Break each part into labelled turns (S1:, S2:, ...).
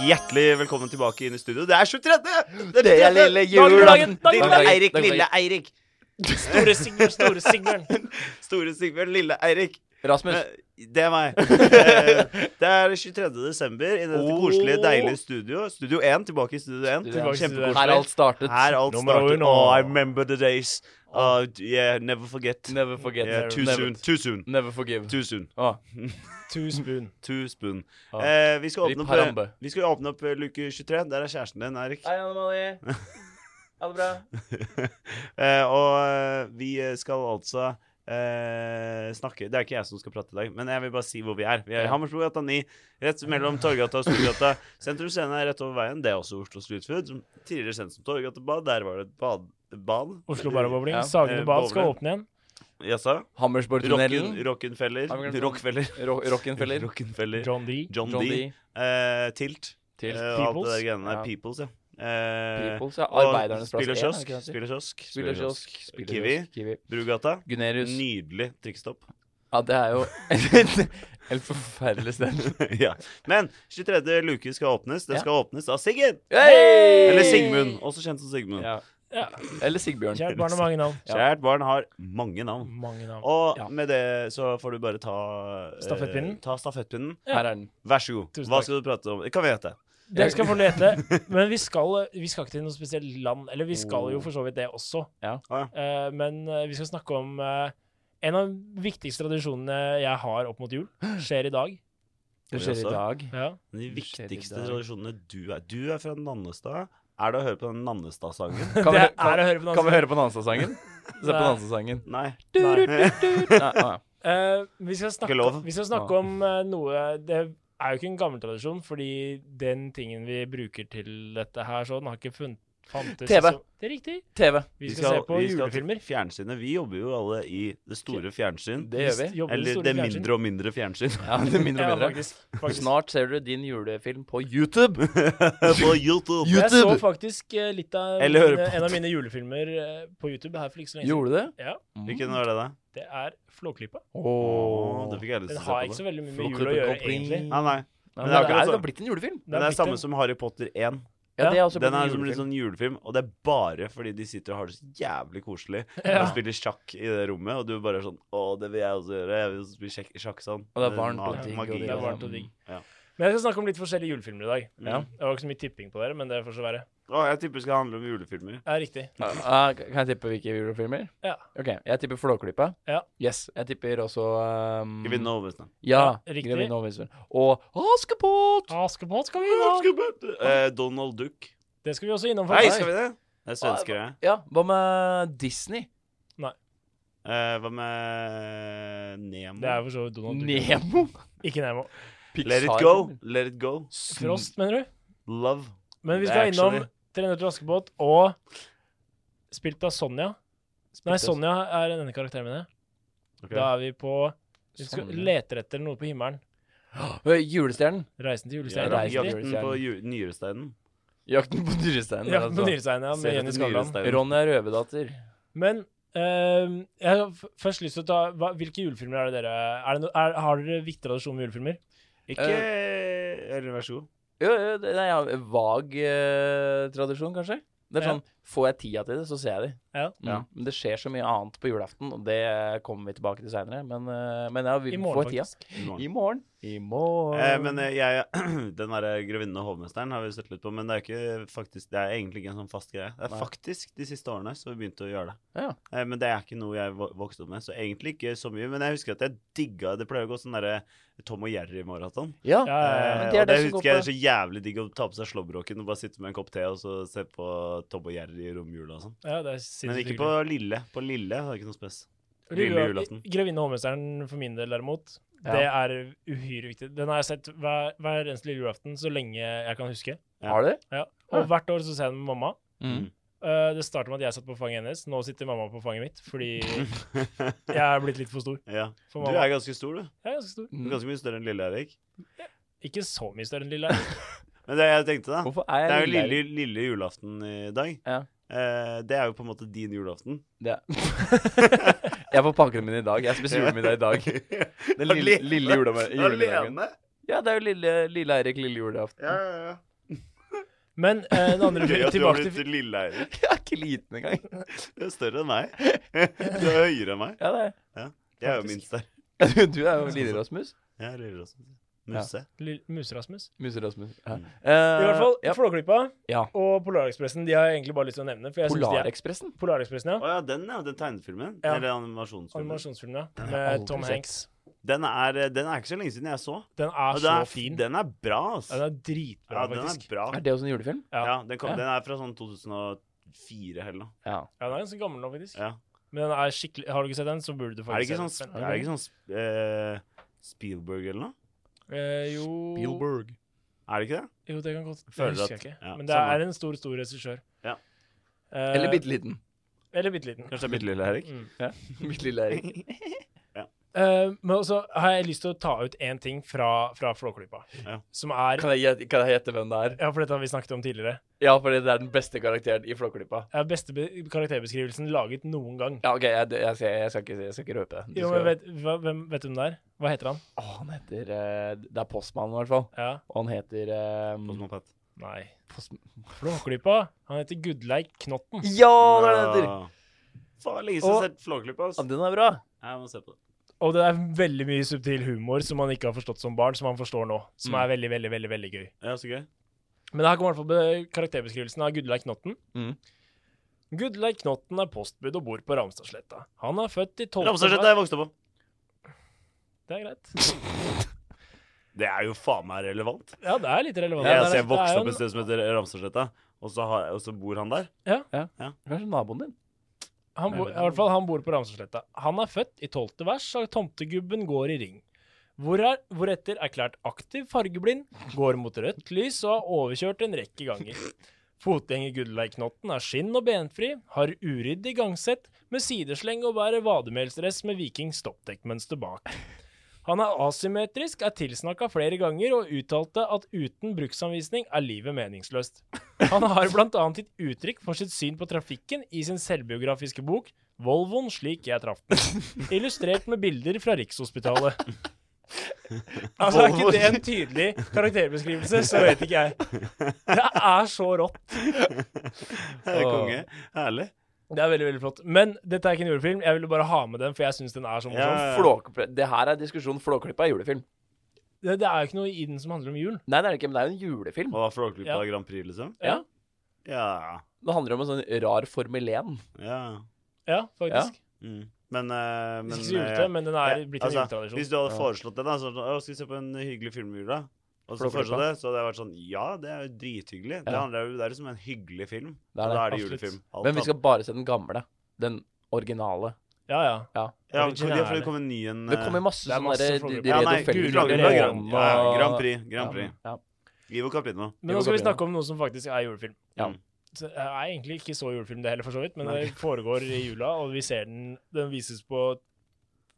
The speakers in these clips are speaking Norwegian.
S1: Hjertelig velkommen tilbake inn i studio. Det er 23!
S2: Det er lille
S3: Dagen,
S2: julen.
S3: dagen, dagen,
S2: Lille
S3: dagen.
S2: Eirik,
S3: Dagen,
S2: lille
S3: dagen.
S2: Eirik.
S3: Store Sigbjørn, store Sigbjørn.
S1: Store Sigbjørn, lille Eirik.
S3: Rasmus.
S1: Eh, Det er meg. Eh, Det er 23. desember i dette
S3: Åh.
S1: koselige, deilige studio. Studio 1, tilbake i Studio 1.
S3: Tilbake i Studio 1.
S1: Kjempekoselig.
S3: Her
S1: Her
S3: er alt startet.
S1: alt
S4: Nummer
S1: startet.
S4: uno.
S1: Oh, I remember the days. Uh, yeah, never forget.
S3: Never forget.
S1: Yeah, too
S3: never,
S1: soon. Too soon.
S3: Never forgive.
S1: Too soon.
S3: Ah,
S4: Two spoon.
S1: Two spoon.
S3: ah.
S1: Eh, vi, skal åpne
S3: Rip
S1: opp,
S3: Harambe.
S1: eh, vi skal åpne opp eh, luke 23. Der er kjæresten din, Eirik.
S3: Hei, Anne Marie. Ha det bra.
S1: Eh, og eh, vi eh, skal altså eh, snakke Det er ikke jeg som skal prate i dag, men jeg vil bare si hvor vi er. Vi er i
S3: Ja.
S1: Hammersbrogata 9, rett mellom Torgata og Storgata. Sentrum Scene er rett over veien. Det er også Oslo Street Food. Som tidligere kjent som Torgata Bad. Der var det et bad... bad
S4: Oslo Barabowling.
S3: Ja.
S4: Sagene
S1: Eh,
S4: bad skal
S1: bowling.
S4: åpne igjen.
S1: Jaså? Rocken,
S3: Hammersborgtunnelen.
S1: Rockenfeller.
S3: Har vi glemt noe?
S1: Rockfeller.
S3: Ro- Rockenfeller.
S1: Rockenfeller.
S4: John D.
S1: John,
S3: John
S1: D.
S3: D.
S1: Eh, tilt.
S3: Til
S1: Eh, og alt det der
S4: Peoples.
S1: greiene der.
S3: Ja.
S1: Peoples, ja. Eh,
S3: Peoples. Ja,
S1: og
S3: Arbeidernes plass.
S1: Spill og
S3: én, er det
S1: kiosk.
S3: ikke det?
S1: Spill og kiosk.
S3: Spill og kiosk. Spill og
S1: Kiwi.
S3: kiosk, Kiwi.
S1: Brugata.
S3: Gunerius.
S1: Nydelig trikkestopp.
S3: Ja, det er jo et forferdelig sted.
S1: ja. Men 23. luke skal åpnes. Den
S3: Ja.
S1: skal åpnes av Siggen.
S3: Hey!
S1: Eller Sigmund, også kjent som Sigmund.
S3: Ja.
S4: Ja.
S3: Eller Sigbjørn.
S4: Kjært barn har mange navn.
S3: Ja.
S1: Kjært barn har mange navn.
S4: Mange navn.
S1: Og
S3: Ja.
S1: med det så får du bare ta eh,
S4: Stafettpinnen?
S1: ta stafettpinnen.
S3: Her er den.
S1: Vær så god.
S4: Tusen
S1: Hva
S4: takk.
S1: skal du prate om? Det kan vi hete.
S4: Dere skal få lete. Men vi skal, vi skal ikke til noe spesielt land. Eller vi skal jo for så vidt det også.
S3: Ja.
S1: Ah,
S4: Eh, men eh, vi skal snakke om eh, en av de viktigste tradisjonene jeg har opp mot jul. Skjer i dag.
S3: Det skjer i dag.
S4: Ja.
S1: De
S3: Det skjer i
S1: viktigste
S3: dag.
S1: tradisjonene du er Du er fra Nannestad. Er det å høre på den Nannestad-sangen?
S3: Kan vi,
S4: det
S3: kan,
S4: er å høre på
S3: kan vi
S4: dansen.
S3: høre på Nanstad-sangen? Se på
S4: Nei.
S3: Nanstad-sangen.
S1: Nei.
S3: Nei, ah, ja.
S4: Eh, vi skal snakke,
S1: Ikke lov.
S4: vi skal snakke om eh, noe Det er jo ikke en gammel tradisjon, fordi den tingen vi bruker til dette her, sånn, har ikke funnet fantes
S3: TV.
S4: som- Det er riktig.
S3: TV.
S4: Vi skal, se på
S1: vi skal til
S4: julefilmer.
S1: Fjernsynet. Vi jobber jo alle i det store fjernsyn.
S3: Det gjør vi.
S4: Jobber i
S1: Eller
S4: store
S1: det
S4: fjernsyn.
S1: mindre og mindre fjernsyn.
S3: Ja, det er mindre
S4: Ja,
S3: og mindre.
S4: faktisk. faktisk.
S3: Snart ser du din julefilm på YouTube.
S1: på YouTube.
S4: Jeg så
S3: YouTube.
S4: faktisk eh, litt av
S1: Eller hører
S4: mine,
S1: på.
S4: en av mine julefilmer eh, på YouTube her for ikke så lenge siden.
S3: Gjorde du det?
S4: Ja,
S1: Hvilken var det, da?
S4: det er Flåklypa.
S1: Mm. Åh, det fikk jeg lyst
S4: Den
S1: til å se
S4: har
S1: på.
S4: ikke
S1: da.
S4: så veldig mye med
S3: Flåklypa
S4: jul å gjøre,
S3: Company.
S4: egentlig.
S1: Nei, nei.
S3: Nei,
S1: Men det
S3: men
S1: er
S3: det,
S1: akkurat
S3: er, det
S1: sånn.
S3: har blitt en julefilm.
S1: Men det er
S4: blitt
S1: samme
S4: en-
S1: som Harry Potter 1.
S3: Ja,
S4: Ja,
S3: det er også blitt
S1: Den
S3: en
S1: er som en
S3: julefilm.
S1: litt sånn julefilm, og det er bare fordi de sitter og har det så jævlig koselig
S4: Ja.
S1: og spiller sjakk i det rommet, og du bare er sånn Å, det vil jeg også gjøre. Jeg vil også spille sjakk, sjakk sånn.
S3: Og det er varmt og
S1: ma-
S3: digg, og
S1: magi
S3: det
S4: Det er
S1: og
S4: varmt
S1: sånn.
S4: og digg.
S1: Ja.
S4: Men jeg skal snakke om litt forskjellige julefilmer i dag. Mm.
S3: Ja.
S4: Det var ikke så mye tipping på dere, men det får så være.
S1: Å, jeg tipper det skal handle om julefilmer.
S4: Ja, riktig.
S3: Ah, kan jeg tippe hvilke julefilmer?
S4: Ja.
S3: Ok, Jeg tipper Flåklypa.
S4: Ja.
S3: Yes. Jeg tipper også um,
S4: Mhm.
S1: Skal vi nå overbevise dem?
S3: Ja,
S4: Ja, riktig. Ah.
S3: Grevinne og Overviseren. Og Askepott!
S4: Askepott skal vi innom.
S1: Eh, Donald Duck.
S4: Det skal vi også innom.
S1: Nei,
S4: faktisk.
S1: skal vi det? Det er svensker, det.
S3: Ja, hva med Disney?
S1: Eh, hva med Nemo?
S4: Det er for så vidt Donald Duck.
S3: Nemo?
S4: Ikke Nemo.
S1: Let it go. Let it go.
S4: Frost, mener du?
S1: Love.
S4: Men vi
S1: Det er
S4: skal
S1: actually-
S4: innom 300 til Askepott og spilt av Sonja. Nei, Sonja er denne karakteren min.
S1: Ok.
S4: Da er vi på Vi skal
S3: Sonja.
S4: leter etter noe på himmelen.
S3: Ø, Julestjernen.
S4: Reisen til
S1: Ja,
S4: julestjernen.
S3: Reisen til
S4: Reisen til-
S1: Jakten på ju- nyresteinen.
S3: Jakten på nyresteinen.
S4: Ja, på Nyresteinen, ja, med
S1: Ser
S4: Jenny
S1: altså, etter
S4: Skavlan.
S1: nyresteinen.
S3: Ronny er røverdatter.
S4: Men ehm, jeg har f- først lyst til å ta hva, Hvilke julefilmer er det dere er det no, er, Har dere viktig tradisjon med julefilmer?
S1: Ikke Eller vær så god.
S3: Jo, jo, det det er ja, vag eh, tradisjon, kanskje. Det er
S4: Ja.
S3: sånn, Får jeg tida til det, så ser jeg de.
S4: Ja.
S3: Mm. Men det skjer så mye annet på julaften, og det kommer vi tilbake til seinere. Men, eh, men ja, vi
S4: I
S3: får
S4: morgen,
S3: tida.
S4: faktisk.
S3: I morgen. I morgen.
S1: Eh, men eh, jeg, den der eh, grevinnen og hovmesteren har vi sett litt på, men det er, ikke faktisk, det er egentlig ikke en sånn fast greie. Det er
S3: Nei.
S1: faktisk de siste årene så vi begynte å gjøre det.
S3: Ja.
S1: Eh, men det er ikke noe jeg vo- vokste opp med, så egentlig ikke så mye. Men jeg husker at jeg digga Det pleier å gå sånn derre Tom og Jerry-maraton.
S3: ja.
S4: Ja, ja, ja.
S1: Eh,
S3: Men
S1: og
S3: det
S1: det,
S3: er det som går
S1: husker jeg er
S3: på-
S1: så jævlig digg å ta på seg slåbroken og bare sitte med en kopp te og så se på Tom og Jerry i romjula og sånn.
S4: Ja, det er
S1: Men
S4: sinnssykt
S1: ikke på Lille. På Lille har jeg ikke noe spes.
S4: hyggelig.
S1: lille julaften.
S4: Grevinne og hovmesteren for min del, derimot,
S3: Ja.
S4: det er uhyre viktig. Den har jeg sett hver, hver eneste lille julaften så lenge jeg kan huske.
S3: Har du?
S4: Ja. Og hvert år så ser jeg den med mamma.
S3: Mm.
S4: Eh, det starter med at jeg satt på fanget hennes. Nå sitter mamma på fanget mitt fordi jeg er blitt litt for stor
S1: ja.
S4: for
S1: Du
S4: mamma.
S1: er ganske stor, du.
S4: Jeg er ganske stor.
S1: du er
S3: Mm.
S1: ganske mye større enn Lille Erik.
S4: Ikke så mye større enn lille.
S1: Men det jeg tenkte, da
S3: Hvorfor er
S1: Det er
S3: jeg
S1: jo lille, lille julaften i dag.
S3: Ja.
S1: Eh, det er jo på en måte din julaften.
S3: Det. jeg får pakkene mine i dag. Jeg spiser julemiddag i dag. Den lille,
S1: Alene.
S3: lille jule- julemiddagen.
S1: Alene?
S3: Ja, det er jo lille, lille Eirik lille julaften.
S1: Ja, ja, ja.
S4: Men eh, den andre
S1: Gøy at du har
S4: tilbake til
S1: blitt Lille-Eirik.
S3: Jeg er ikke liten engang.
S1: Du er større enn meg. Du er høyere enn meg.
S3: Ja, det er.
S1: Jeg er jo
S4: Faktisk.
S1: minst der.
S3: Du, du er jo lille Rasmus.
S1: Jeg er lille Rasmus. Musse.
S4: Lille- Muse-Rasmus.
S3: Muse-Rasmus. Ja. Eh,
S1: Mm.
S4: I hvert fall,
S3: ja.
S4: Flåklypa
S3: Ja.
S4: og Polarekspressen de har jeg egentlig bare lyst til å nevne. For jeg synes de er
S3: Polarekspressen.
S4: Polarekspressen,
S1: Å
S4: ja.
S1: ja, den, ja. Den tegnefilmen.
S4: Ja.
S1: Eller animasjonsfilmen.
S4: Animasjonsfilmen, ja.
S3: har jeg
S4: Med
S3: aldri
S4: Tom
S3: sett.
S4: Hanks.
S1: Den er, eh, den er ikke så lenge siden jeg så.
S4: Den
S1: Og
S4: er
S1: den
S4: så
S1: er,
S4: fin.
S1: Den er bra, ass.
S4: Ja, den er dritbra,
S1: Ja, den er
S4: faktisk.
S1: bra.
S3: Er det også en julefilm?
S4: Ja.
S1: Ja, den, kom,
S3: Ja.
S1: den er fra sånn 2004 eller noe.
S3: Ja.
S4: Ja, den er ganske gammel nå, faktisk.
S1: Ja.
S4: Men den er skikkelig Har du ikke sett den, så burde du
S1: Er det
S4: faktisk
S1: ikke sånn,
S4: se den.
S1: sp- er det ikke sånn sp- eh, Spielberg eller noe?
S4: Eh, jo
S1: Er det ikke det?
S4: Jo, det kan godt Det
S1: Føler
S4: husker
S1: at-
S4: jeg ikke.
S1: ja,
S4: Men det
S1: samme.
S4: er en stor, stor regissør.
S1: Ja.
S4: Eh,
S3: Eller bitte liten.
S4: Eller bitte liten.
S1: Kanskje det er bitte lille Erik?
S4: Mm.
S3: Bitte lille Erik.
S4: Eh, men så har jeg lyst til å ta ut én ting fra, fra Flåklypa,
S1: Ja.
S4: som er
S3: Kan jeg gjette- kan jeg gjette hvem det er?
S4: Ja, for dette har vi snakket om tidligere.
S3: Ja, fordi det er den beste karakteren i Flåklypa.
S4: Det er beste be- karakterbeskrivelsen laget noen gang.
S3: Ja, OK, jeg, jeg, skal- jeg, skal, ikke, jeg skal ikke røpe det. Du
S4: Jo,
S3: skal-
S4: men vet, hva, hvem, vet du hvem det er? Hva heter han?
S3: Å, han heter eh, Det er Postmannen, i hvert fall.
S4: Ja.
S3: Og han heter eh,
S1: Postmann Pat.
S4: Nei.
S3: Postm-
S4: Flåklypa. Han heter Gudleik Knotten.
S3: Ja, det er det han heter!
S1: Ja. Faen, lenge siden jeg har sett Flåklypa. ass.
S3: Ja, den er bra.
S1: Jeg må se på det.
S4: Og det er veldig mye subtil humor som man ikke har forstått som barn, som man forstår nå. Som
S3: Mm.
S4: er veldig, veldig, veldig veldig gøy.
S1: Ja, så gøy.
S4: Men her kommer i hvert fall be- karakterbeskrivelsen av Gudleik Knotten.
S3: Mm.
S4: Gudleik Knotten er postbud og bor på Ramstadsletta. Han er født i 12.
S1: Ramsarsletta har jeg vokst opp på.
S4: Det er greit.
S1: Det er jo faen meg relevant.
S4: Ja, det er litt relevant.
S1: jeg
S4: Det er-
S1: ser jeg
S4: det er
S1: vokste
S4: jo
S1: opp
S4: en-
S1: et sted som heter Ramsarsletta, og, så har- og så bor han der.
S3: Kanskje naboen din.
S4: Han bor, i hvert fall han bor på Ramsøysletta. Han er født i tolvte vers, og tomtegubben går i ring. Hvor er, hvoretter erklært aktiv fargeblind, går mot rødt lys og har overkjørt en rekke ganger. Fotgjenger Gudleiknotten er skinn- og benfri, har urydd igangsett, med sidesleng og bærer vademelsdress med viking stoppdekkmønster bak. Han er asymmetrisk, er tilsnakka flere ganger og uttalte at uten bruksanvisning er livet meningsløst. Han har blant annet gitt uttrykk for sitt syn på trafikken i sin selvbiografiske bok 'Volvoen slik jeg traff den', illustrert med bilder fra Rikshospitalet. Altså, Er ikke det en tydelig karakterbeskrivelse, så vet ikke jeg. Det er så rått.
S1: Det er konge. Herlig.
S4: Det er veldig, veldig flott. Men dette er ikke en julefilm. Jeg ville bare ha med den, for jeg syns den er så morsom.
S3: sånn
S1: Ja, ja, ja.
S3: Flåklypa Det her er diskusjon Flåklypa er julefilm.
S4: Det, det er jo ikke noe i den som handler om jul.
S3: Nei, det er det ikke, men det er jo en julefilm.
S1: Og da Flåklypa
S4: Ja.
S1: Grand Prix, liksom?
S3: Ja.
S1: Ja.
S3: Det handler om en sånn rar Formel 1.
S1: ja.
S4: Ja, faktisk.
S1: Mm. Men, eh, men
S4: Ikke så
S1: eh,
S4: julete, men sånn. den er
S1: Ja,
S4: blitt en
S1: altså,
S4: juletradisjon.
S1: Hvis du hadde
S3: Ja.
S1: foreslått det, da, så sånn, «Å, skal vi se på en hyggelig film i jula? Og så
S3: Flåklypa.
S1: foreslå det, så hadde jeg vært sånn Ja, det er jo drithyggelig. Det,
S3: Ja.
S1: handler, jo- det er liksom en hyggelig film.
S3: Det er
S1: og
S3: det,
S1: da er det
S4: absolutt.
S1: julefilm. Alt
S3: Men vi skal bare se den gamle. Den originale.
S4: Ja, ja.
S1: annet. ja,
S4: originale.
S1: det, for det kommer en ny en
S3: Det kommer
S1: eh,
S3: masse
S4: det er
S3: sånne
S4: masse
S3: der-
S4: Flåklypa.
S3: de- de
S1: ja,
S3: red
S1: nei,
S3: og feller-
S1: Grand,
S3: de
S1: Grand,
S3: red
S1: Grand,
S3: og-
S1: ja, ja, Grand Prix. Grand Prix.
S3: Ja.
S1: Ivo Caprino.
S4: Men nå skal vi snakke om noe som faktisk er julefilm.
S3: Ja.
S4: Så Det er egentlig ikke så julefilm det heller, for så vidt, men
S1: Nei.
S4: det foregår i jula, og vi ser den Den vises på,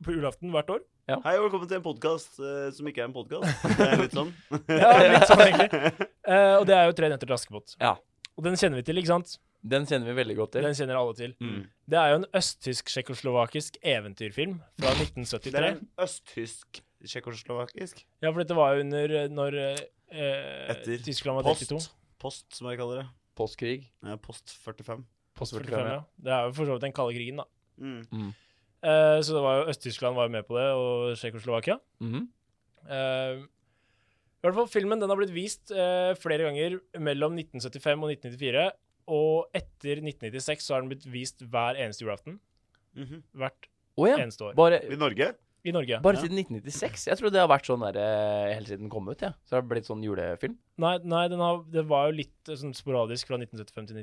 S4: på julaften hvert år.
S1: Hei og velkommen til en podkast som ikke er en podkast. Det er litt sånn.
S4: Ja, litt sånn egentlig. Eh, og det er jo Tre nøtter til Askepott.
S3: Ja.
S4: Og den kjenner vi til, ikke sant?
S3: Den kjenner vi veldig godt til.
S4: Den kjenner alle til.
S1: Mm.
S4: Det er jo en østtysk-tsjekkoslovakisk eventyrfilm fra
S1: Det er
S4: 1973.
S1: en østtysk Tsjekkoslovakisk.
S4: Ja, for dette var jo under eh, når eh,
S1: Etter
S4: Tyskland var delt i
S1: Post.
S4: to.
S1: Post, som jeg kaller det.
S3: Postkrig.
S1: Eh, Post 45.
S4: Post
S3: 45,
S4: 45, ja. Det er jo for så vidt den kalde krigen, da.
S1: Mm.
S4: Eh, så det var jo Øst-Tyskland var jo med på det, og Tsjekkoslovakia.
S3: Mhm.
S4: Eh, I hvert fall filmen den har blitt vist eh, flere ganger mellom 1975 og 1994. Og etter 1996 så har den blitt vist hver eneste julaften.
S1: Mhm.
S4: Hvert
S3: Å ja.
S4: eneste år.
S3: Bare,
S1: I Norge?
S4: I Norge.
S3: bare
S1: Ja.
S3: siden 1996. Jeg tror det har vært sånn der eh, helt siden den kom ut. Ja. Så det har blitt sånn julefilm.
S4: Nei, nei den har, det var jo litt eh, sånn sporadisk fra 1975 til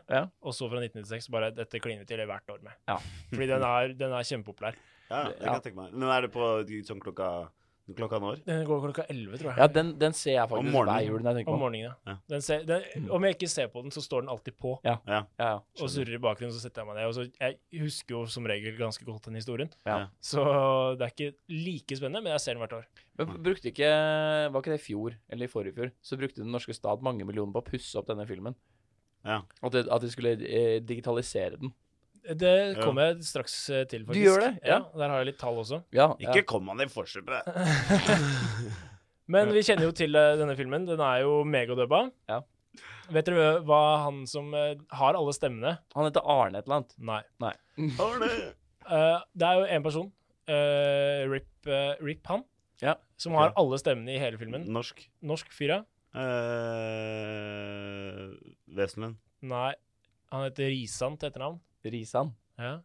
S4: 1994.
S3: Ja.
S4: Og så fra 1996 bare dette kliner vi til hvert år med.
S3: Ja.
S4: Fordi den er, den er kjempepopulær.
S1: Ja, det kan
S3: Ja.
S1: jeg tenke meg. Men er det på sånn klokka Klokka når?
S4: Den går klokka 11, tror jeg.
S3: Ja, den, den ser jeg faktisk
S1: morgenen.
S3: hver jul når jeg tenker
S4: Om
S3: på Mm.
S4: morgenen,
S3: den.
S4: ja.
S1: Ja.
S4: Den ser, den, om jeg ikke ser på den, så står den alltid på
S3: Ja, ja.
S4: og surrer i bakgrunnen. Så setter jeg meg ned. Og så, jeg husker jo som regel ganske godt den historien.
S3: Ja.
S4: Så det er ikke like spennende, men jeg ser den hvert år.
S3: Men brukte ikke Var ikke det i fjor, eller i forrige fjor, så brukte den norske stat mange millioner på å pusse opp denne filmen.
S1: Ja.
S3: At, det, at de skulle eh, digitalisere den.
S4: Det kommer jeg straks eh, til, faktisk.
S3: gjør det?
S4: Ja.
S3: Ja.
S4: Der har jeg litt tall også.
S3: Ja,
S1: Ikke
S3: ja.
S1: kom han i forkjøpet!
S4: Men vi kjenner jo til eh, denne filmen. Den er jo megadubba.
S3: Ja.
S4: Vet dere hva han som eh, har alle stemmene
S3: Han heter Arne et eller annet.
S4: Nei.
S1: Arne!
S4: Eh, det er jo én person, eh, Rip, eh, Rip han,
S3: Ja.
S4: som har
S1: Ok.
S4: alle stemmene i hele filmen.
S1: Norsk. Eh,
S4: Norsk fyr, ja.
S1: Uh, Vestmenn.
S4: Nei, han heter Risan til etternavn.
S3: Risan.
S4: Ja.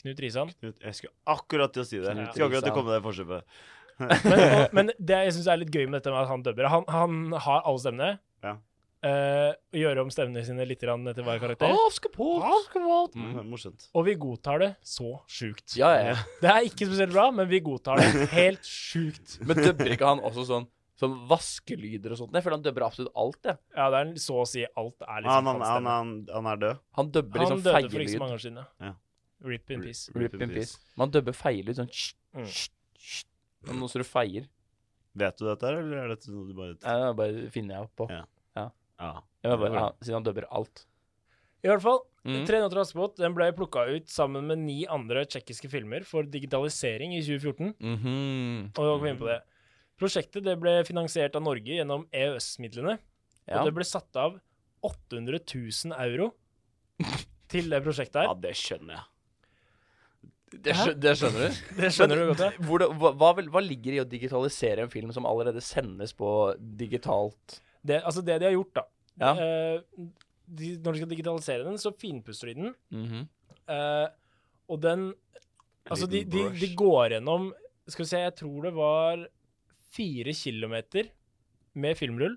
S4: Knut Risan.
S1: Knut, jeg skulle akkurat til å si det.
S3: Knut
S1: Skulle akkurat til å
S3: Risan.
S1: komme med det forkjøpet.
S4: Men, og, men det jeg syns er litt gøy med dette med at han dubber Han, han har alle stemmene.
S1: Ja.
S4: Eh, og gjør om stemmene sine litt grann til hver karakter.
S1: Mm.
S3: Mm.
S1: det er Morsomt.
S4: Og vi godtar det så sjukt.
S3: Ja, ja, ja.
S4: Det er ikke spesielt bra, men vi godtar det helt sjukt.
S3: Men dubber ikke han også sånn Sånn vaskelyder og sånt? Jeg føler han dubber absolutt alt, jeg.
S4: Ja, det er så å si alt er
S1: Han,
S4: liksom
S1: han,
S4: hans
S1: han,
S4: stemme.
S1: han, han er død.
S3: Han dubber
S4: Han
S3: liksom
S4: døde for ikke så
S3: feillyd.
S4: mange år siden.
S1: Ja.
S4: Rip in peace.
S3: Rip in peace. Man dubber feillyd sånn sj,
S4: Mm.
S3: sj, sj. Men nå står det feier.
S1: Vet du dette, her, eller er dette noe du bare
S3: Nei, Det bare finner jeg på.
S1: Ja. Ja.
S3: Jeg bare,
S1: Det var
S3: ja, siden han dubber alt.
S4: I hvert fall,
S3: Mm.
S4: 'Tre nøtter og askepott' den ble plukka ut sammen med ni andre tsjekkiske filmer for digitalisering i 2014.
S3: Mhm.
S4: Og da kom vi
S1: Mm.
S4: inn på det. Prosjektet det ble finansiert av Norge gjennom EØS-midlene.
S3: ja.
S4: Og det ble satt av 800 000 euro til det prosjektet her.
S1: det skjønner jeg.
S3: det, skjø- det skjønner du?
S4: Det skjønner du
S3: Men
S4: godt, ja.
S3: hvordan- hva, hva, vil- hva ligger i å digitalisere en film som allerede sendes på digitalt
S4: Det, altså det de har gjort, da.
S3: Ja.
S4: Eh, de, når de skal digitalisere den, så finpusser de den.
S3: Mhm.
S4: Eh, og den Altså, de,
S1: liten
S4: de,
S1: brush.
S4: de går gjennom Skal vi se, jeg tror det var fire kilometer med filmrull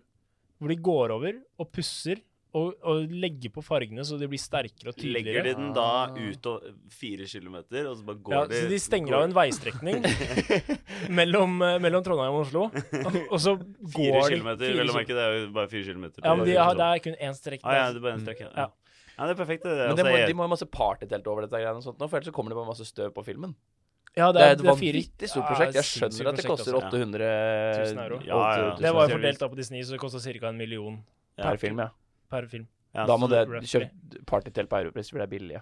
S4: hvor de går over og pusser og, og legger på fargene så de blir sterkere og tydeligere.
S1: Legger de den da
S3: Ah.
S1: ut og fire kilometer, og så bare går
S4: ja,
S1: de
S4: så de stenger av en veistrekning mellom, eh, mellom Trondheim og Oslo, og, og så går
S1: Fire
S4: de
S1: kilometer,
S4: fire
S1: vel å
S4: kil-
S1: merke. Det er jo bare fire kilometer.
S4: Ja, men de har, det er kun én strekk.
S1: ah, ja,
S4: der.
S1: det er bare en strekk, ja.
S4: Ja.
S1: ja. Ja, det er perfekt. Det,
S3: Men
S1: altså,
S3: det må,
S1: jeg-
S3: de må ha masse partytelt over dette, greiene og sånt nå, for ellers så kommer det bare masse støv på filmen.
S4: Ja,
S3: Det er et
S4: det er fire-
S3: vanvittig stort
S4: Ja,
S3: prosjekt. Jeg
S4: sinnssykt
S3: skjønner at det
S4: prosjekt,
S3: koster
S4: altså.
S3: 800
S4: Tusen euro.
S1: Ja, ja.
S4: Det var jo
S1: Tusen
S4: fordelt da på Disney, så det kosta ca. en million
S1: Ja.
S3: per film, ja.
S4: per film.
S1: ja,
S3: Da
S1: så-
S3: må det
S4: roughly.
S3: kjøpe partytelt på Europris, for det er billig. Ja.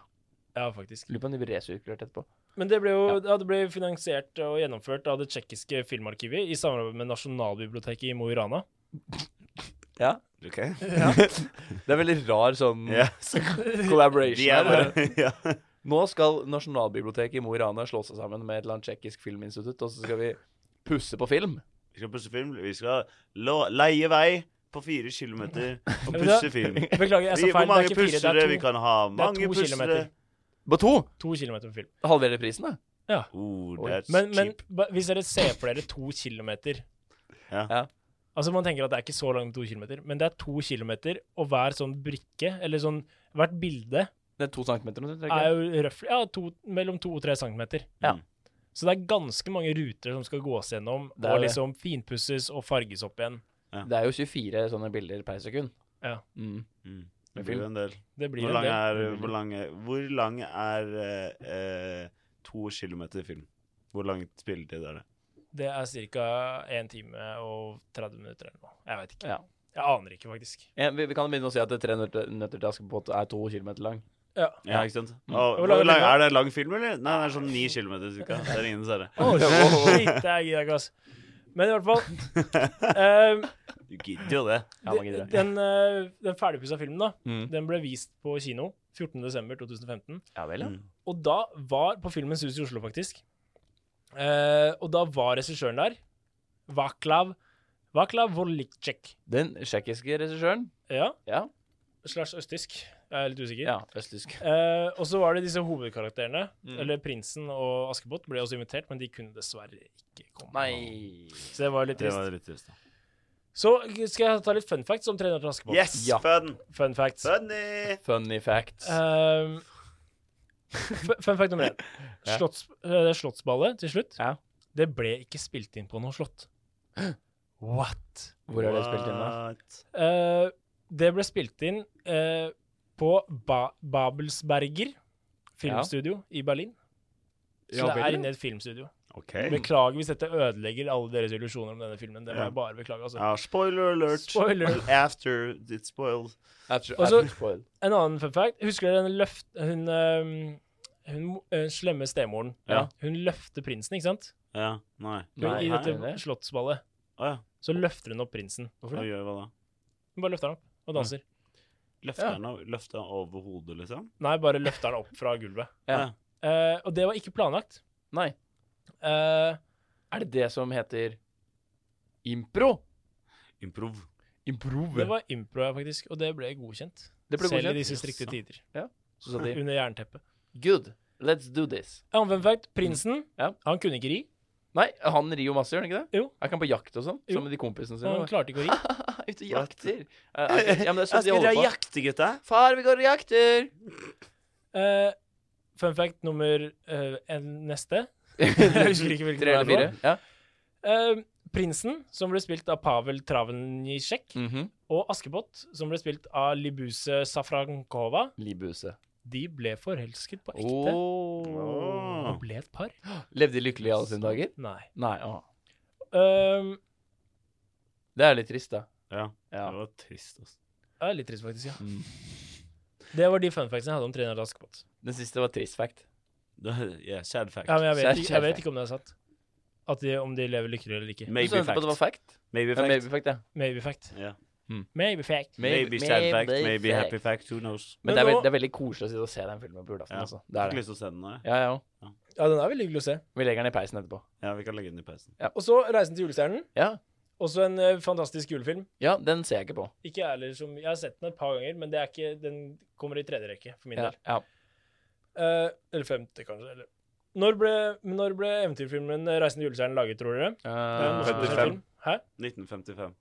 S4: Ja, faktisk.
S3: Lurer på om de blir resirkulert etterpå.
S4: Men det ble jo ja, det ble finansiert og gjennomført av det tsjekkiske filmarkivet i samarbeid med Nasjonalbiblioteket i Mo i Rana.
S3: Ja.
S1: Ok.
S3: Det er veldig rar sånn
S1: Ja, så
S3: collaboration.
S1: de er
S3: her, bare.
S1: bare ja.
S3: Nå skal Nasjonalbiblioteket i Mo i Rana slå seg sammen med et eller annet tsjekkisk filminstitutt, og så skal vi pusse på film.
S1: Vi skal pusse film. Vi skal la- leie vei på fire kilometer og
S4: Men
S1: pusse
S4: det-
S1: film.
S4: Beklager, jeg
S1: Vi,
S4: sa
S1: hvor
S4: feil. Det er
S1: mange
S4: ikke fire,
S1: pussere
S4: det
S1: vi
S4: er to,
S1: kan ha?
S4: det
S1: Mange
S4: er to kilometer.
S1: pussere.
S3: På to
S4: To kilometer med film.
S3: halverer prisen, da.
S1: Oh, det er
S4: Men, men
S1: cheap.
S4: ba- hvis dere ser for dere to kilometer
S1: Ja.
S3: Ja.
S4: Altså Man tenker at det er ikke så langt med to kilometer, men det er to kilometer, og hver sånn brikke, eller sånn hvert bilde,
S3: Det er to centimeter nå, tror
S4: er
S3: jeg.
S4: jo røftlig ja, to, mellom to og tre centimeter.
S1: Mm.
S3: Ja.
S4: Så det er ganske mange ruter som skal gås gjennom,
S3: Det er
S4: og
S3: det.
S4: liksom finpusses og farges opp igjen.
S1: jo-
S3: Det er jo 24 sånne bilder per sekund.
S4: Ja.
S3: Mm.
S1: Mm. Det blir jo en del.
S4: Det blir
S1: Hvor
S4: en
S1: lang
S4: del.
S1: er, hvor lang er, hvor lang er eh, eh, to kilometer film? Hvor langt spilletid er det?
S4: Det er ca. 1 time og 30 minutter eller noe. Jeg vet ikke.
S3: Ja.
S4: Jeg aner ikke, faktisk.
S3: Ja, vi, vi kan begynne å si at det er tre nøtter, nøtter til Askepott er to kilometer lang.
S4: Ja.
S1: Ja, ikke sant?
S3: Mm.
S1: Og, hvor
S4: Hvor lang er
S1: lang,
S4: filmen?
S1: er det en lang film, eller? Nei, det er sånn ni kilometer cirka. Det er ingen seere.
S4: Å, shit, det er gidder jeg ikke, ass. Men i hvert fall eh,
S1: Du gidder jo det.
S3: Ja, man gidder det.
S4: Den, uh, den ferdigpussa filmen da,
S3: Mm.
S4: den ble vist på kino 14.12.2015.
S3: Ja vel, ja.
S1: Mm.
S4: Og da var På Filmens Hus i Oslo, faktisk. Eh, og da var regissøren der. Vaklav Vaklav Volikcek.
S3: Den tsjekkiske regissøren.
S4: Ja.
S3: Ja.
S4: Slash østtysk. Jeg er litt usikker.
S3: ja. Østtysk.
S4: Eh, og så var det disse hovedkarakterene.
S3: Mm.
S4: Eller Prinsen og Askepott ble også invitert, men de kunne dessverre ikke komme.
S3: Nei
S4: Så det var litt
S1: Det
S4: trist.
S1: var litt trist. da.
S4: Så skal jeg ta litt fun facts om 300 til Askepott.
S1: Yes!
S3: Ja.
S1: Fun!
S4: Fun facts.
S1: Funny!
S3: Funny facts.
S4: Um, fu- fun fact nummer én.
S3: Ja.
S4: Slotts, eh, slottsballet til slutt,
S3: Ja.
S4: det ble ikke spilt inn på noe slott. What?
S3: Hvor er det spilt inn, da?
S1: What?
S4: Eh, det ble spilt inn eh, på ba Babelsberger filmstudio i Berlin. Så
S3: Ja,
S4: det
S3: vel,
S4: er
S3: ja. Mm.
S4: inne i et filmstudio.
S1: OK.
S4: Beklager hvis dette ødelegger alle deres illusjoner om denne filmen. Det må
S1: Ja.
S4: jeg bare beklage, altså.
S1: Ja, spoiler alert.
S4: Spoiler.
S1: After it's spoiled.
S3: After,
S4: Og så-
S3: after spoil.
S4: En annen fun fact. Husker dere den løft... Hun, øhm, hun, øh, slemme stemoren.
S1: Ja.
S4: Hun løfter prinsen, ikke sant?
S1: Ja, nei.
S4: Hun,
S3: Nei,
S4: I
S3: nei,
S4: dette
S3: det-
S4: slottsballet.
S1: Å ja.
S4: Så løfter hun opp prinsen.
S1: Hva gjør vi da?
S4: Hun bare løfter han opp og danser.
S1: Løfter han o- løfter han over hodet, liksom?
S4: Nei, bare løfter han opp fra gulvet.
S3: Ja.
S4: Eh, og det var ikke planlagt.
S3: Nei.
S4: Eh,
S3: Er det det som heter impro?
S1: Improv.
S3: Improv.
S4: det var impro, ja, faktisk, og det ble godkjent.
S3: Det ble
S4: Selv i
S3: godkjent.
S4: disse strikte tider.
S3: Så sa de
S4: Under jernteppet.
S3: good, let's do this.
S4: Fun fact, prinsen
S3: Ja.
S4: han kunne ikke ri.
S3: Nei, han rir jo masse, gjør han ikke det?
S4: Jo.
S3: Er ikke han på jakt og sånn?
S4: Jo.
S3: Sammen med de kompisene
S4: Og han
S3: sine?
S4: klarte ikke å ri.
S3: Ute og jakter. Eh, er ikke- Ja, men
S1: Jeg
S3: det er sånn de
S1: skal dra
S3: holder på.
S1: jakte, gutta.
S3: Far, vi går og jakter!
S4: Eh, fun fact nummer eh, en, neste. Jeg husker ikke hvilken
S3: Tre eller
S4: det var.
S3: fire. Ja.
S4: Eh, prinsen, som ble spilt av Pavel Travnitsjek,
S3: Mhm.
S4: og Askepott, som ble spilt av Libuse Safrankova,
S3: Libhuset.
S4: de ble forelsket på ekte.
S3: Åh.
S4: Og ble et par.
S3: Levde de lykkelig i alle sine dager?
S4: Nei.
S3: Nei. Åh.
S4: Ehm,
S3: Det er litt trist, da.
S1: Ja, det
S3: Ja.
S1: var trist, altså.
S4: det er litt trist, faktisk. ja.
S3: Mm.
S4: Det var de fun factsene jeg hadde om treneren til Askepott.
S3: Den siste var trist fact.
S1: Det- Yeah, sad fact.
S4: Ja, men jeg vet,
S3: Kjære,
S4: ikke, jeg vet
S3: kjære.
S4: ikke om det er sant. At de, om de lever lykkelig eller ikke.
S3: Du
S1: Maybe
S3: sa
S1: fact.
S3: på at det var fact.
S1: Maybe
S3: Ja,
S1: fact.
S3: Maybe fact, ja.
S4: Maybe fact.
S1: Ja.
S3: Mm.
S4: Maybe fact.
S3: Maybe-
S1: Maybe sad fact,
S3: maybe
S1: maybe
S3: fact.
S1: happy fact, who knows.
S4: Men
S3: Men, det, er
S4: nå-
S3: veld, det er veldig koselig å sitte og se den filmen på julaften.
S1: Ja.
S3: Altså. Det er
S1: Ikke
S3: det.
S1: lyst til å se den nå, jeg.
S3: Ja, jeg òg.
S4: Ja, den er veldig hyggelig å se.
S3: Vi legger den i peisen etterpå.
S1: Ja, vi kan legge den i pausen.
S4: Og så Reisen til julestjernen.
S3: Ja.
S4: Også en eh, fantastisk julefilm.
S3: ja, den ser jeg ikke på.
S4: Ikke jeg heller som Jeg har sett den et par ganger, men det er ikke, den kommer i tredje rekke for min
S3: Ja,
S4: del.
S3: ja.
S4: Eh, eller femte, kanskje. Eller. Når ble, når ble eventyrfilmen eh, 'Reisen til julestjernen' laget, tror dere?
S3: Eh,
S1: Den
S4: Norsk
S1: 55.
S4: film. Hæ?
S1: 1955.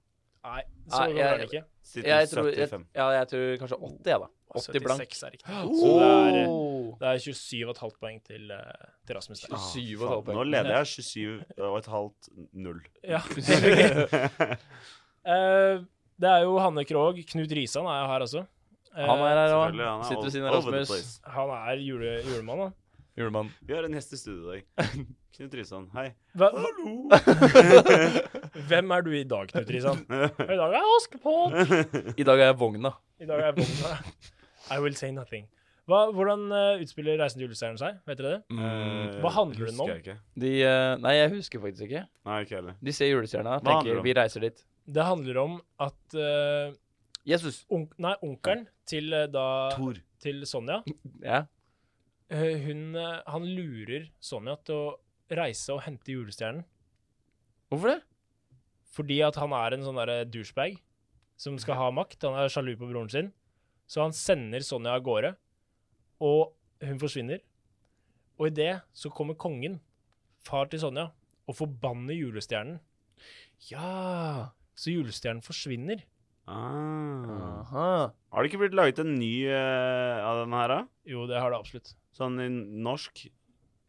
S4: Nei, så
S3: Nei,
S4: gammel
S3: jeg-
S4: er den ikke.
S1: Siden
S3: Jeg tror, jeg,
S1: 75.
S3: ja, jeg tror kanskje 80, jeg, da. 80 blank.
S4: 76 er riktig.
S1: det er-
S3: Oh!
S4: Det er 27,5 poeng til, eh, til Rasmus der.
S3: 27
S1: Faen,
S3: og et halvt
S1: Nå leder jeg 27 og et halvt null.
S4: Ja.
S3: poeng.
S4: Eh, det er jo Hanne Krogh. Knut Risan er jo her også. Eh,
S3: Han er her òg.
S1: Selvfølgelig, han er
S3: Sitter ved siden
S1: all-
S3: av
S1: over the
S3: Rasmus.
S1: place.
S4: han er jule, julemann, da.
S3: Julemann.
S1: Vi har en gjest i studio i dag. Knut Risan, hei.
S4: Hva, hvem er du i dag, Knut Risan? I dag er jeg Askepott!
S3: I dag er jeg vogna.
S4: I dag er jeg Bonde. I will say nothing. Hva, hvordan eh, utspiller Reisen til julestjernen seg? Vet dere det?
S1: Eh,
S4: Hva handler den
S1: husker
S4: om?
S1: jeg ikke.
S3: Mm. De eh, Nei, jeg husker faktisk ikke.
S1: Nei, ikke heller.
S3: De ser julestjerna,
S1: Hva handler det
S3: tenker
S1: om?
S3: vi reiser dit.
S4: Det handler om at eh,
S3: Jesus.
S4: onk, Nei, onkelen til eh, da
S1: Tor.
S4: Til Sonja.
S3: Ja.
S4: eh, hun eh, Han lurer Sonja til å reise og hente julestjernen.
S3: Hvorfor det?
S4: Fordi at han er en sånn derre douchebag som skal ha makt. Han er sjalu på broren sin. Så han sender Sonja av gårde, og hun forsvinner. Og i det så kommer kongen, far til Sonja, og forbanner julestjernen.
S3: Ja.
S4: Så julestjernen forsvinner.
S1: Ah.
S3: Aha.
S1: Har det ikke blitt laget en ny eh, av denne her, da?
S4: Jo, det har det absolutt.
S1: Sånn i norsk?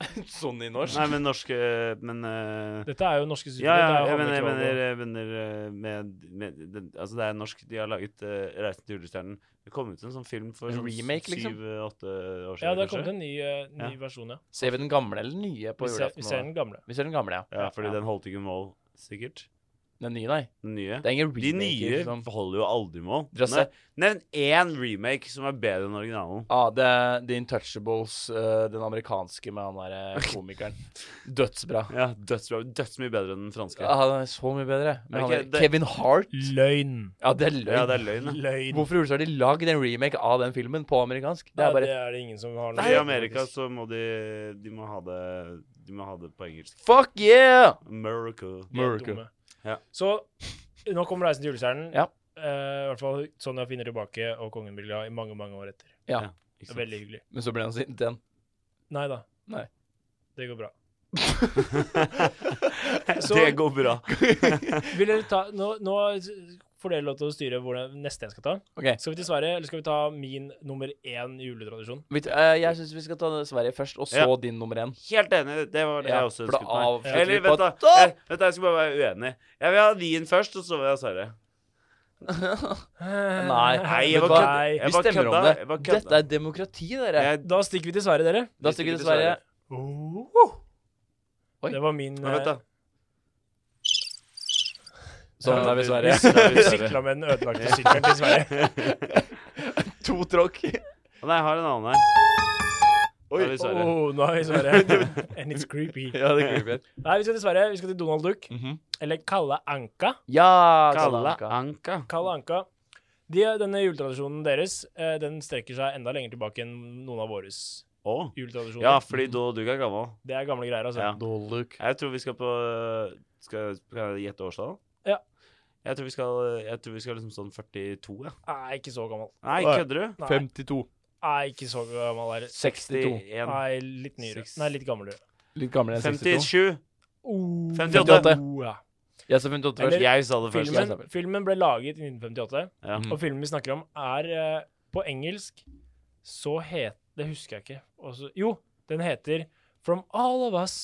S3: Sånn i norsk?
S1: Nei, men norsk eh, Men eh,
S4: Dette er jo norske
S1: Ja,
S4: studier.
S1: ja, jeg mener, jeg mener, jeg mener eh, med, med den, Altså, det er norsk. De har laget eh, 'Reisen til julestjernen'. Det kom ut en sånn film for
S3: En
S1: sånn
S3: remake, liksom?
S1: syv-åtte år siden.
S4: ja, det har
S1: kanskje.
S4: kommet en ny, eh, ny
S1: Ja.
S4: versjon, ja.
S3: Ser vi den gamle eller den nye på
S4: Vi ser, vi
S3: julaften?
S4: ser
S3: nå?
S4: den gamle.
S3: vi ser den gamle, ja.
S1: Ja, fordi den holdt ikke mål, sikkert.
S3: Den nye, nei.
S1: Den nye.
S3: Det er ingen
S1: De
S3: remake.
S1: nye
S3: Liksom.
S1: holder jo aldri mål.
S3: Dere har
S1: Nei, Nevn én remake som er bedre enn originalen.
S3: Ah, det er The Intouchables, eh, den amerikanske med han derre komikeren. Dødsbra.
S1: Ja, dødsbra. Dødsmye bedre enn den franske.
S3: Ja, den er så mye bedre. Men
S1: Ok,
S3: han er
S1: det- Mm.
S3: Kevin Hart
S4: Løgn.
S3: Ja, det er løgn.
S1: Ja, det er løgn. da.
S4: Løgn.
S3: Hvorfor gjorde så har de lagd en remake av den filmen på amerikansk? Det
S4: Ja,
S3: er bare
S4: det er det ingen som har noe
S1: I
S4: med,
S1: Amerika
S4: faktisk.
S1: så må de De må ha det De må ha det på engelsk.
S3: Fuck yeah!
S1: America.
S4: De er
S3: Miracle.
S4: dumme.
S1: Ja.
S4: Så nå kommer Reisen til julestjernen.
S3: Ja.
S4: Eh, I hvert fall Sonja finner tilbake, og kongen blir glad i mange mange år etter.
S1: Ikke
S4: Det
S1: sant?
S4: er veldig hyggelig.
S3: Men så ble han sint igjen.
S4: Nei da.
S3: Nei.
S4: Det går bra. Så-
S1: det går bra.
S4: Vil dere ta, nå, nå får dere lov til å styre hvor det neste jeg skal ta.
S3: OK.
S4: Skal vi til Sverige, eller skal vi ta min nummer én juletradisjon?
S3: Vet, eh, jeg syns vi skal ta Sverige først, og så
S1: Ja.
S3: din nummer én.
S1: Helt enig. Det var det
S3: Ja,
S1: jeg også
S3: for da
S1: ønsket meg.
S3: avslutter vi
S1: Eller vent,
S3: på
S1: da. Eh,
S3: topp!
S1: Jeg, vent da, jeg skal bare være uenig. Jeg vil ha din først, og så vil jeg ha Sverre.
S3: Nei,
S1: Nei,
S3: vet
S1: jeg
S3: du
S1: bare
S3: hva?
S1: kødda. Jeg
S3: Vi
S1: bare
S3: stemmer om
S1: kødda.
S3: det.
S1: Jeg bare kødda.
S3: Dette er demokrati, dere.
S1: Jeg-
S4: Da stikker vi til Sverige, dere.
S3: Da stikker vi til Sverige. Oh. Oi.
S4: Det var min eh,
S1: Men vent, da.
S3: Sånn er vi i Sverige.
S4: Vi sykla med den ødelagte sykkelen til Sverige.
S3: To tråkk.
S1: Å, Nei, jeg har en annen her.
S3: Oi.
S1: Da er vi i Sverige.
S4: Oh, nå er vi i Sverige. And it's creepy.
S3: Ja, det kryper.
S4: Nei, vi skal til Sverige. Vi skal til Donald Duck.
S3: Mhm.
S4: Eller Kalle Anka.
S3: Ja, sånn
S1: Kalla
S3: Kalanka.
S1: Anka.
S4: Kalle Anka. De, denne juletradisjonen deres eh, den strekker seg enda lenger tilbake enn noen av våre
S1: Å?
S4: juletradisjoner.
S1: Ja, fordi Doll og Duck er gammel.
S4: Det er gamle greier, altså.
S1: Ja. Jeg tror vi skal på skal, Kan jeg gjette årstallet?
S4: Ja.
S1: Jeg tror vi skal, jeg tror vi skal liksom sånn 42, ja.
S4: Nei, ikke så gammel.
S1: Nei,
S3: Nei.
S1: kødder du?
S4: Nei,
S3: 52.
S4: nei ikke så gammel. Er.
S3: 62.
S1: 61.
S4: Nei, litt nyere.
S1: Seks.
S4: Nei, litt gamlere.
S3: Litt gamlere enn 62.
S1: 57.
S4: Oh,
S1: 58.
S4: ja.
S3: Jeg sa 58
S4: Eller-
S3: først.
S1: Jeg sa det først.
S3: jeg sa
S4: filmen,
S3: vel.
S4: filmen ble laget i 1958,
S1: Ja.
S3: Mm.
S4: og filmen vi snakker om, er eh, på engelsk Så het Det husker jeg ikke. Også, jo, den heter From All of Us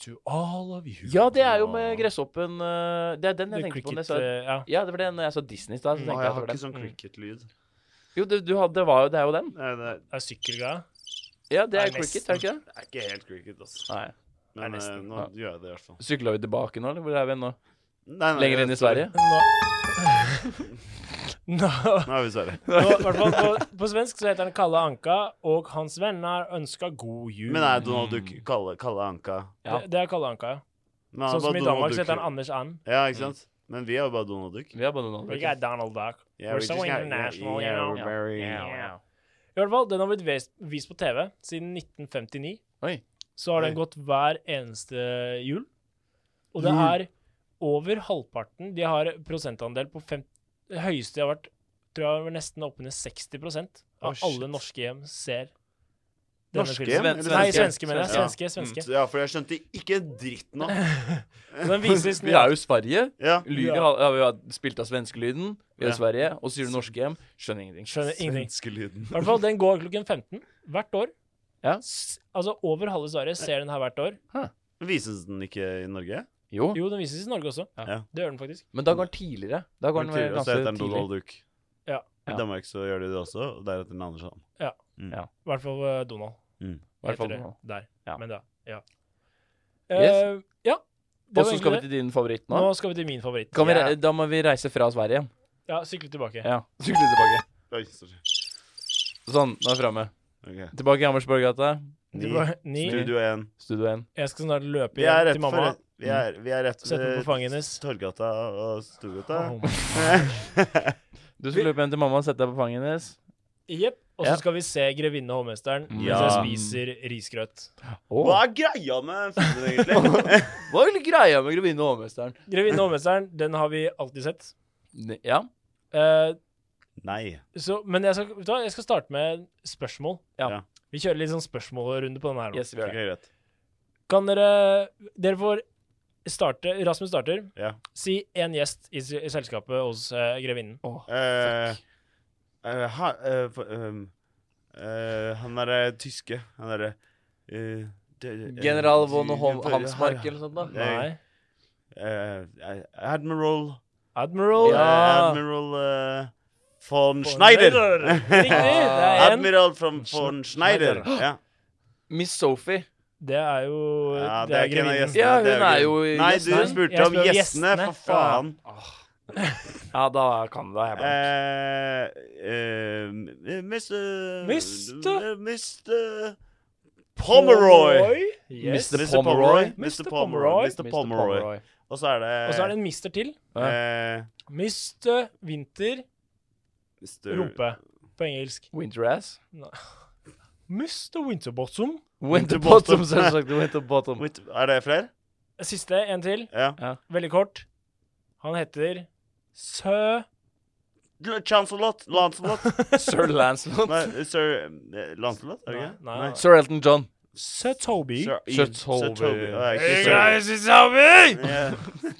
S4: to All of You.
S3: Ja, det er jo med gresshoppen eh, Det er den jeg
S4: The
S3: tenkte på.
S4: cricket,
S3: når jeg sa-
S4: eh, ja.
S3: Ja, det var den jeg sa Disney i stad. så
S1: Å,
S3: tenkte
S1: jeg
S3: jeg at
S1: har
S3: det var
S1: ikke
S3: den.
S1: sånn cricket-lyd.
S3: Jo, det, du hadde, det, var jo, det er jo den.
S1: Nei, det er,
S4: Det er sykkelgreia.
S3: Ja, det
S4: Nei,
S3: er cricket, er det ikke det?
S1: det er ikke helt cricket, altså.
S3: Nei.
S1: Men
S4: Det er
S1: eh,
S4: nesten.
S1: nå
S3: Ja.
S1: gjør jeg det i hvert fall.
S3: Sykla vi tilbake nå, eller hvor er vi nå?
S1: Nei, nei,
S3: Lenger inn i
S1: jeg tror-
S3: Sverige?
S4: Nå, nå,
S1: Nå er vi i Sverige.
S4: nå, i hvert fall på, på svensk så heter den Kalle Anka, og hans venner ønsker god jul.
S1: Men er Donald Duck Kalle, Kalle Anka?
S3: Ja.
S4: det, det er Kalle Anka, ja.
S1: Men han er
S4: Sånn som
S1: bare
S4: i
S1: Donald
S4: Danmark så
S1: Duck.
S4: heter han Mm. Anders And.
S1: Ja, ikke sant? Men vi er jo bare Donald Duck.
S3: Vi har bare noen
S4: We got
S3: andre.
S4: Donald Duck.
S1: Yeah,
S4: We're
S1: we
S4: so
S1: just got-
S4: international,
S1: yeah,
S4: you know.
S1: we're very-
S4: I hvert fall, den har blitt vist, vist på TV siden 1959.
S3: Oi.
S4: Så har den
S1: Oi.
S4: gått hver eneste jul. Og det
S1: Jul.
S4: er over halvparten. De har prosentandel på fem... Det høyeste de har vært, tror jeg var nesten oppunder 60 av
S3: Å, shit.
S4: alle norske hjem ser denne
S1: Norske
S4: filmen.
S1: hjem?
S3: Sven-
S1: Eller
S4: Nei,
S3: Svenske.
S4: svenske, mener jeg.
S1: Ja.
S4: Svenske. svenske.
S1: Ja, for jeg skjønte ikke dritten av
S4: Og Den vises
S3: Vi er jo i Sverige.
S1: Ja.
S3: Lyden
S4: Ja.
S3: har- ja, vi har spilt av svenskelyden. Vi er
S1: Ja.
S3: i Sverige. Og så sier du norske hjem. Skjønner ingenting.
S4: Skjønner ingenting.
S1: Ønskelyden.
S4: I hvert fall, den går klokken 15 hvert år.
S3: Ja.
S4: S altså, over halve Sverige ser den her hvert år.
S1: Vises den ikke i Norge?
S3: Jo,
S4: Jo, den vises i Norge også.
S1: Ja.
S4: Det gjør den faktisk.
S3: men da går den tidligere. Da går den
S1: Tidligere så
S3: ganske
S1: heter den
S3: tidlig.
S1: Donald Duck.
S4: Ja.
S1: I Danmark så gjør de det også, og deretter den andre sånn.
S4: I hvert fall eh, Donald.
S3: I hvert fall
S4: heter det
S3: nå.
S4: Der.
S3: Ja.
S4: Men da, ja.
S3: Yes.
S4: Eh, ja. Det
S3: Og
S4: var
S3: så skal
S4: egentlig
S3: vi
S4: det.
S3: til din favoritt
S4: Nå
S3: nå.
S4: skal vi til min favoritt.
S3: Kan vi,
S4: ja.
S3: re- da må vi reise fra Sverige igjen.
S4: ja, sykle tilbake.
S3: Ja. Sykle tilbake.
S1: Oi, sorry.
S3: Sånn, nå er vi framme.
S1: Ok.
S3: Tilbake i Hammersborggata.
S4: Du
S1: Ni.
S4: bare- Ni.
S1: Studio 1.
S3: Studio 1.
S4: Jeg skal snart løpe
S1: Vi er
S4: hjem
S1: rett
S4: til mamma.
S1: for Vi er, vi er rett
S4: Sett den på
S1: ved
S4: fanget hennes.
S1: Torgata og Storgata.
S4: Oh my-
S3: Du skal løpe hjem til mamma og sette deg på fanget hennes.
S4: Jepp. Og så
S3: Ja.
S4: skal vi se 'Grevinne og hovmesteren' mens
S1: Ja.
S4: jeg spiser risgrøt.
S1: Hva
S3: Åh,
S1: er greia med filmen, egentlig?
S3: Hva er greia med Grevinne og hovmesteren?
S4: 'Grevinne og hovmesteren' den har vi alltid sett.
S3: Ne- Ja.
S4: Eh,
S1: Nei.
S4: så, men jeg skal, vet du hva, jeg skal starte med spørsmål.
S3: Ja.
S1: Ja.
S4: Vi kjører litt sånn spørsmålrunde på denne her. nå.
S3: Yes, vi
S1: Ok,
S3: gjør det.
S1: greit.
S4: Kan dere Dere får starte Rasmus starter.
S1: Ja.
S4: Si én gjest i, s- i selskapet hos eh, grevinnen.
S3: Åh,
S1: Eh, eh, ha, eh, for, ehm, eh, han derre tyske Han derre eh, det- eh,
S3: General von Hol-
S1: for-
S3: Hamsmark eller noe sånt. da
S1: Nei.
S4: Nei.
S1: eh, eh, Admiral
S4: Admiral.
S3: Ja.
S1: eh, Admiral eh, von Schneider.
S4: Riktig. Det er én.
S1: Admiral from von Schneider. Ja.
S3: Miss Sophie.
S4: Det er jo
S1: Ja,
S4: Det er
S1: ikke en av
S4: grevinnen.
S1: gjestene,
S3: Ja,
S1: det
S3: hun er
S1: ikke-
S3: jo i
S1: Nei,
S3: gjestene.
S1: du spurte
S4: Jeg
S1: om
S4: spør om
S1: gjestene,
S4: gjestene.
S1: for faen.
S3: Ja, da kan da jeg bare
S1: Eh, eh, Mr.
S4: Mr.
S1: eh, Mr. Pomeroy.
S4: Yes.
S3: Mr.
S1: Mr. Pomeroy.
S3: Pomeroy.
S1: Mr. Pomeroy.
S4: Mr. Pomeroy.
S1: Mr. Pomeroy. Og så er det
S4: Og så er det en mister til.
S1: eh,
S4: Mr. Winter
S1: Mr.
S4: Rumpe. På engelsk.
S3: Winterass.
S4: Mr. Winterbottom.
S1: Winterbottom.
S3: Winterbottom, selvsagt. Winterbottom.
S1: Wait, Er det flere?
S4: Siste, en til.
S1: Ja.
S4: Veldig kort. Han heter Sø...
S1: L- Chancelot. Lancelot.
S3: Sir Lancelot.
S1: Nei, sir eh, Lancelot? Er det
S4: Nei,
S1: ikke?
S4: nei.
S3: Sir Elton John.
S4: Sø Toby.
S1: Sir
S3: Sir
S1: Ian- Sir
S3: Toby.
S1: Toby. Ja, ikke
S4: Hey,
S1: Sir-
S4: guys, it's Toby!
S1: Ja.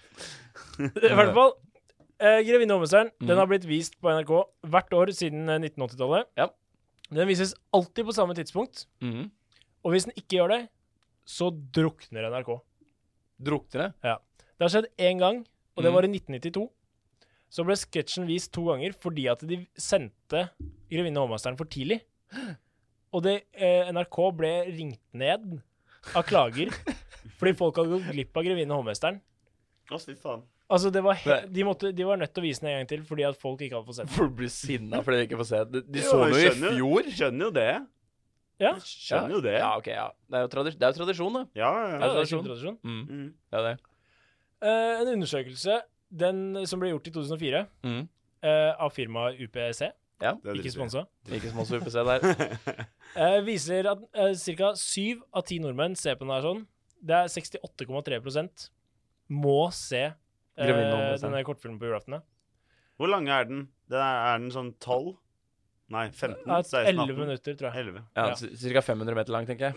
S4: I hvert fall. Eh, 'Grevinne og hovmesteren'
S3: Mhm.
S4: Den har blitt vist på NRK hvert år siden eh, 1980-tallet.
S3: Ja.
S4: Den vises alltid på samme tidspunkt,
S3: Mhm.
S4: og hvis den ikke gjør det, så drukner NRK.
S3: Drukner det?
S4: Det har skjedd én gang, og det
S3: Mhm.
S4: var i 1992. Så ble sketsjen vist to ganger fordi at de sendte 'Grevinne og hovmesteren' for tidlig. Og det, eh, NRK ble ringt ned av klager fordi folk hadde gått glipp av 'Grevinne og hovmesteren'.
S1: Å, fy faen.
S4: Altså, det var he
S3: Nei.
S4: de, måtte, de var nødt til å vise den en gang til fordi at folk ikke hadde fått sett den.
S3: Folk blir sinna fordi de ikke får se det. De
S1: Jo,
S3: så
S1: jeg
S3: det jo i
S1: skjønner
S3: fjor.
S1: Skjønner jo det.
S4: Ja.
S1: Skjønner jo det.
S3: Ja, ok, ja. Det er jo, tradi det er jo tradisjon, det.
S1: Ja,
S4: Ja,
S1: ja.
S4: det er
S3: tradisjon.
S4: tradisjon.
S3: Mm.
S1: Mm.
S3: Det er det.
S4: Eh, en undersøkelse den som ble gjort i 2004,
S3: Mm.
S4: eh, av firmaet UPC,
S3: Ja.
S1: Det er
S4: ikke
S1: dritt.
S4: sponsa,
S3: Ikke som oss UPC der.
S4: eh, viser at eh, ca. syv av ti nordmenn ser på den her sånn. Det er 68,3 må se eh,
S3: Grevinnen og Mesteren.
S4: denne kortfilmen på julaften. ja.
S1: Hvor lang er den? Det er, er den sånn 12? Nei,
S3: Mm,
S1: 15?
S4: Det er
S1: 16?
S4: 11 minutter, tror jeg.
S1: 11.
S3: Ja,
S4: Ja.
S3: Ca. 500 meter lang, tenker jeg.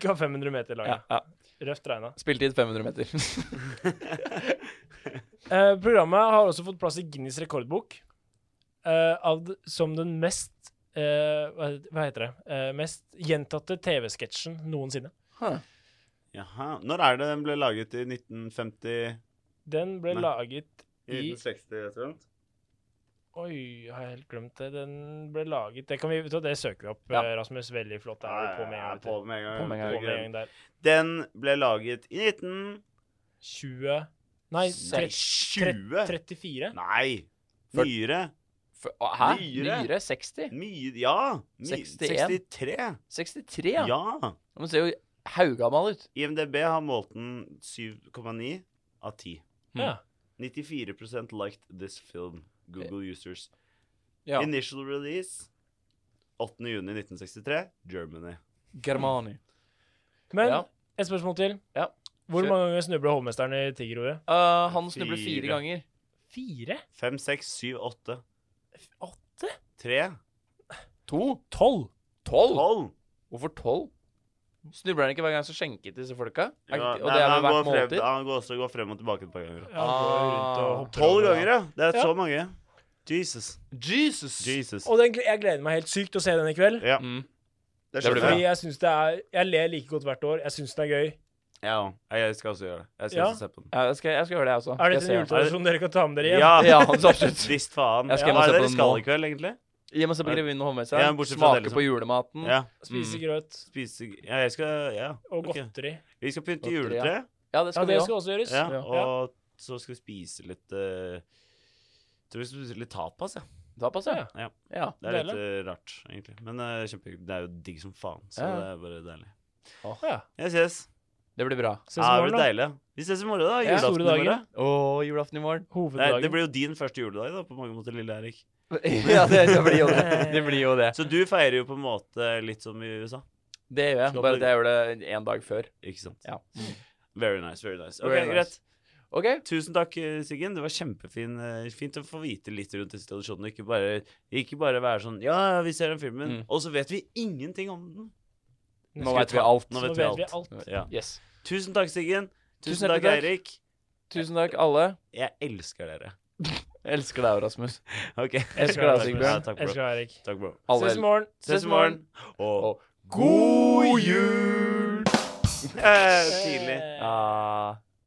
S4: Ca. 500 meter lang.
S3: Ja,
S4: ja.
S3: ja.
S4: Røft regna.
S3: Spilletid 500 meter.
S4: Eh, programmet har også fått plass i Guinness rekordbok eh, av, d- som den mest eh, hva, hva heter det? Eh, mest gjentatte TV-sketsjen noensinne.
S1: Jaha. Når er det den ble laget? I 1950?
S4: Den ble
S1: Nei.
S4: laget
S1: I
S4: i
S1: 1960, jeg tror.
S4: Oi, har jeg helt glemt det? Den ble laget Det, kan vi, vet du hva, det søker vi opp,
S3: Ja.
S4: eh, Rasmus. Veldig flott. Det er vi på med en gang.
S1: på
S4: vet du.
S1: med en gang.
S3: På med en gang.
S4: På med en gang der.
S1: Den ble laget i 19...
S4: 20 Nei,
S1: Nei,
S4: 30,
S1: 20?
S4: 34?
S1: Nei.
S3: Fyrt-
S1: Nyere.
S3: For, å, hæ?
S1: Nyere?
S3: Nyere? 60?
S1: Mye Ja. Ny-
S3: 61.
S1: 63.
S3: 63, ja.
S1: Ja.
S3: Men Den ser jo haugammal ut.
S1: IMDb har målt den 7,9 av 10.
S3: Mm.
S4: Ja.
S1: 94 liked this film. Google users.
S3: Ja.
S1: Initial release 8. juni 1963, Germany.
S3: Germani.
S4: Men
S3: Ja.
S4: et spørsmål til.
S3: Ja.
S4: Hvor
S3: Kjør.
S4: mange ganger snubla hovmesteren i tiggerordet?
S3: Eh, han snubler fire
S1: Fire.
S3: ganger.
S4: Fire?
S1: 5, 6, 7, 8,
S4: Åtte?
S1: 3,
S3: To?
S4: Tolv?
S3: Tolv?
S1: 12.
S3: Hvorfor tolv? Snubler han ikke hver gang så skjenket disse folka?
S1: Ja,
S3: Er ikke- og
S1: nei,
S3: det er
S1: men
S3: vel
S1: han,
S3: hvert
S1: går frem,
S3: måltid?
S1: han går også går frem og tilbake et par ganger.
S4: Ja, han går jo rundt og hopper
S1: 12
S4: over, ja.
S1: ganger, ja! Det er
S4: Ja.
S1: så mange. Jesus.
S3: Jesus!
S1: Jesus.
S4: Og den, jeg gleder meg helt sykt til å se den i kveld.
S1: Ja,
S3: Mm.
S1: det
S3: det
S1: skjønner
S3: blir
S4: Fordi
S1: jeg.
S4: jeg synes det er Jeg ler like godt hvert år. Jeg syns den er gøy.
S1: Ja, jeg skal også gjøre det. Jeg skal
S4: Ja.
S1: også se på den.
S3: Ja, jeg, skal, jeg skal gjøre det, jeg også.
S4: Er
S3: Jeg
S4: dette
S3: ser
S4: en
S3: han.
S4: juletradisjon dere kan ta med dere hjem?
S1: Ja,
S3: Ja, så absolutt.
S1: visst faen.
S3: Jeg skal
S1: Ja,
S3: hjem og
S1: hva
S3: se
S1: er det dere
S3: på den
S1: skal
S3: nå.
S1: i kveld, egentlig?
S3: Hjemme se på Grevinnen og Hovmesteren.
S1: Ja, bortsett fra
S3: Smake
S1: det, liksom.
S3: på julematen.
S1: Ja.
S4: Spise
S3: Mm.
S4: grøt
S1: Spise Ja, jeg skal Ja.
S4: og
S1: ok.
S4: godteri.
S1: Vi skal pynte
S3: Godteri, ja.
S1: juletre.
S3: Ja, det
S4: Ja,
S3: skal vi
S4: det
S3: òg.
S4: skal også gjøres.
S1: Ja,
S3: Ja.
S1: og så skal vi spise litt eh, Tror vi skal spise litt tapas, ja.
S3: Tapas, ja.
S1: Ja.
S3: ja.
S1: Det er litt
S4: Deilig.
S1: eh, rart, egentlig. Men eh, kjempe, det er jo digg som faen, så
S3: Ja.
S1: det er bare deilig.
S4: Ja.
S1: Jeg ses.
S3: Det blir bra.
S4: Ses
S1: Ja,
S4: i
S1: det
S4: morgen,
S1: blir
S4: da.
S1: deilig. Vi ses i morgen, da.
S4: Ja. Store
S1: Julaften i morgen.
S4: dagen.
S3: Å, julaften i morgen.
S1: Nei,
S4: Hoveddagen.
S1: det blir jo din første juledag, da, på mange måter, lille Erik.
S3: ja, det, det blir jo det. Det blir jo det.
S1: Så du feirer jo på en måte litt som i USA.
S3: Det gjør jeg.
S1: Slapp
S3: Bare
S1: deg.
S3: at jeg gjør det en dag før.
S1: Ikke sant?
S3: Ja.
S1: Very nice, very nice. Ok,
S3: Very nice.
S1: greit.
S3: OK.
S1: Tusen takk, eh, Siggen. Det var kjempefint fint å få vite litt rundt disse tradisjonene. Ikke bare, ikke bare være sånn Ja, ja, vi ser den filmen,
S3: Mm.
S1: og så vet vi ingenting om den.
S3: Nå
S1: vi
S3: vet vi
S1: ta-
S3: alt.
S1: Nå
S4: Nå
S1: vet vi alt.
S4: alt.
S1: Ja.
S3: Yes.
S1: Tusen takk, Siggen. Tusen,
S3: Tusen
S1: takk,
S3: hjertelig takk.
S1: Eirik.
S3: Tusen takk, alle.
S1: Jeg elsker dere.
S3: Jeg elsker deg, Rasmus.
S1: OK.
S3: elsker deg, Sigbjørn.
S1: Ja, takk,
S4: Jeg
S1: bro.
S4: skal ha Erik.
S1: Takk, bro.
S3: Alle.
S4: Ses i morgen.
S1: Ses i morgen. Og
S3: Og god jul!
S1: eh, tidlig.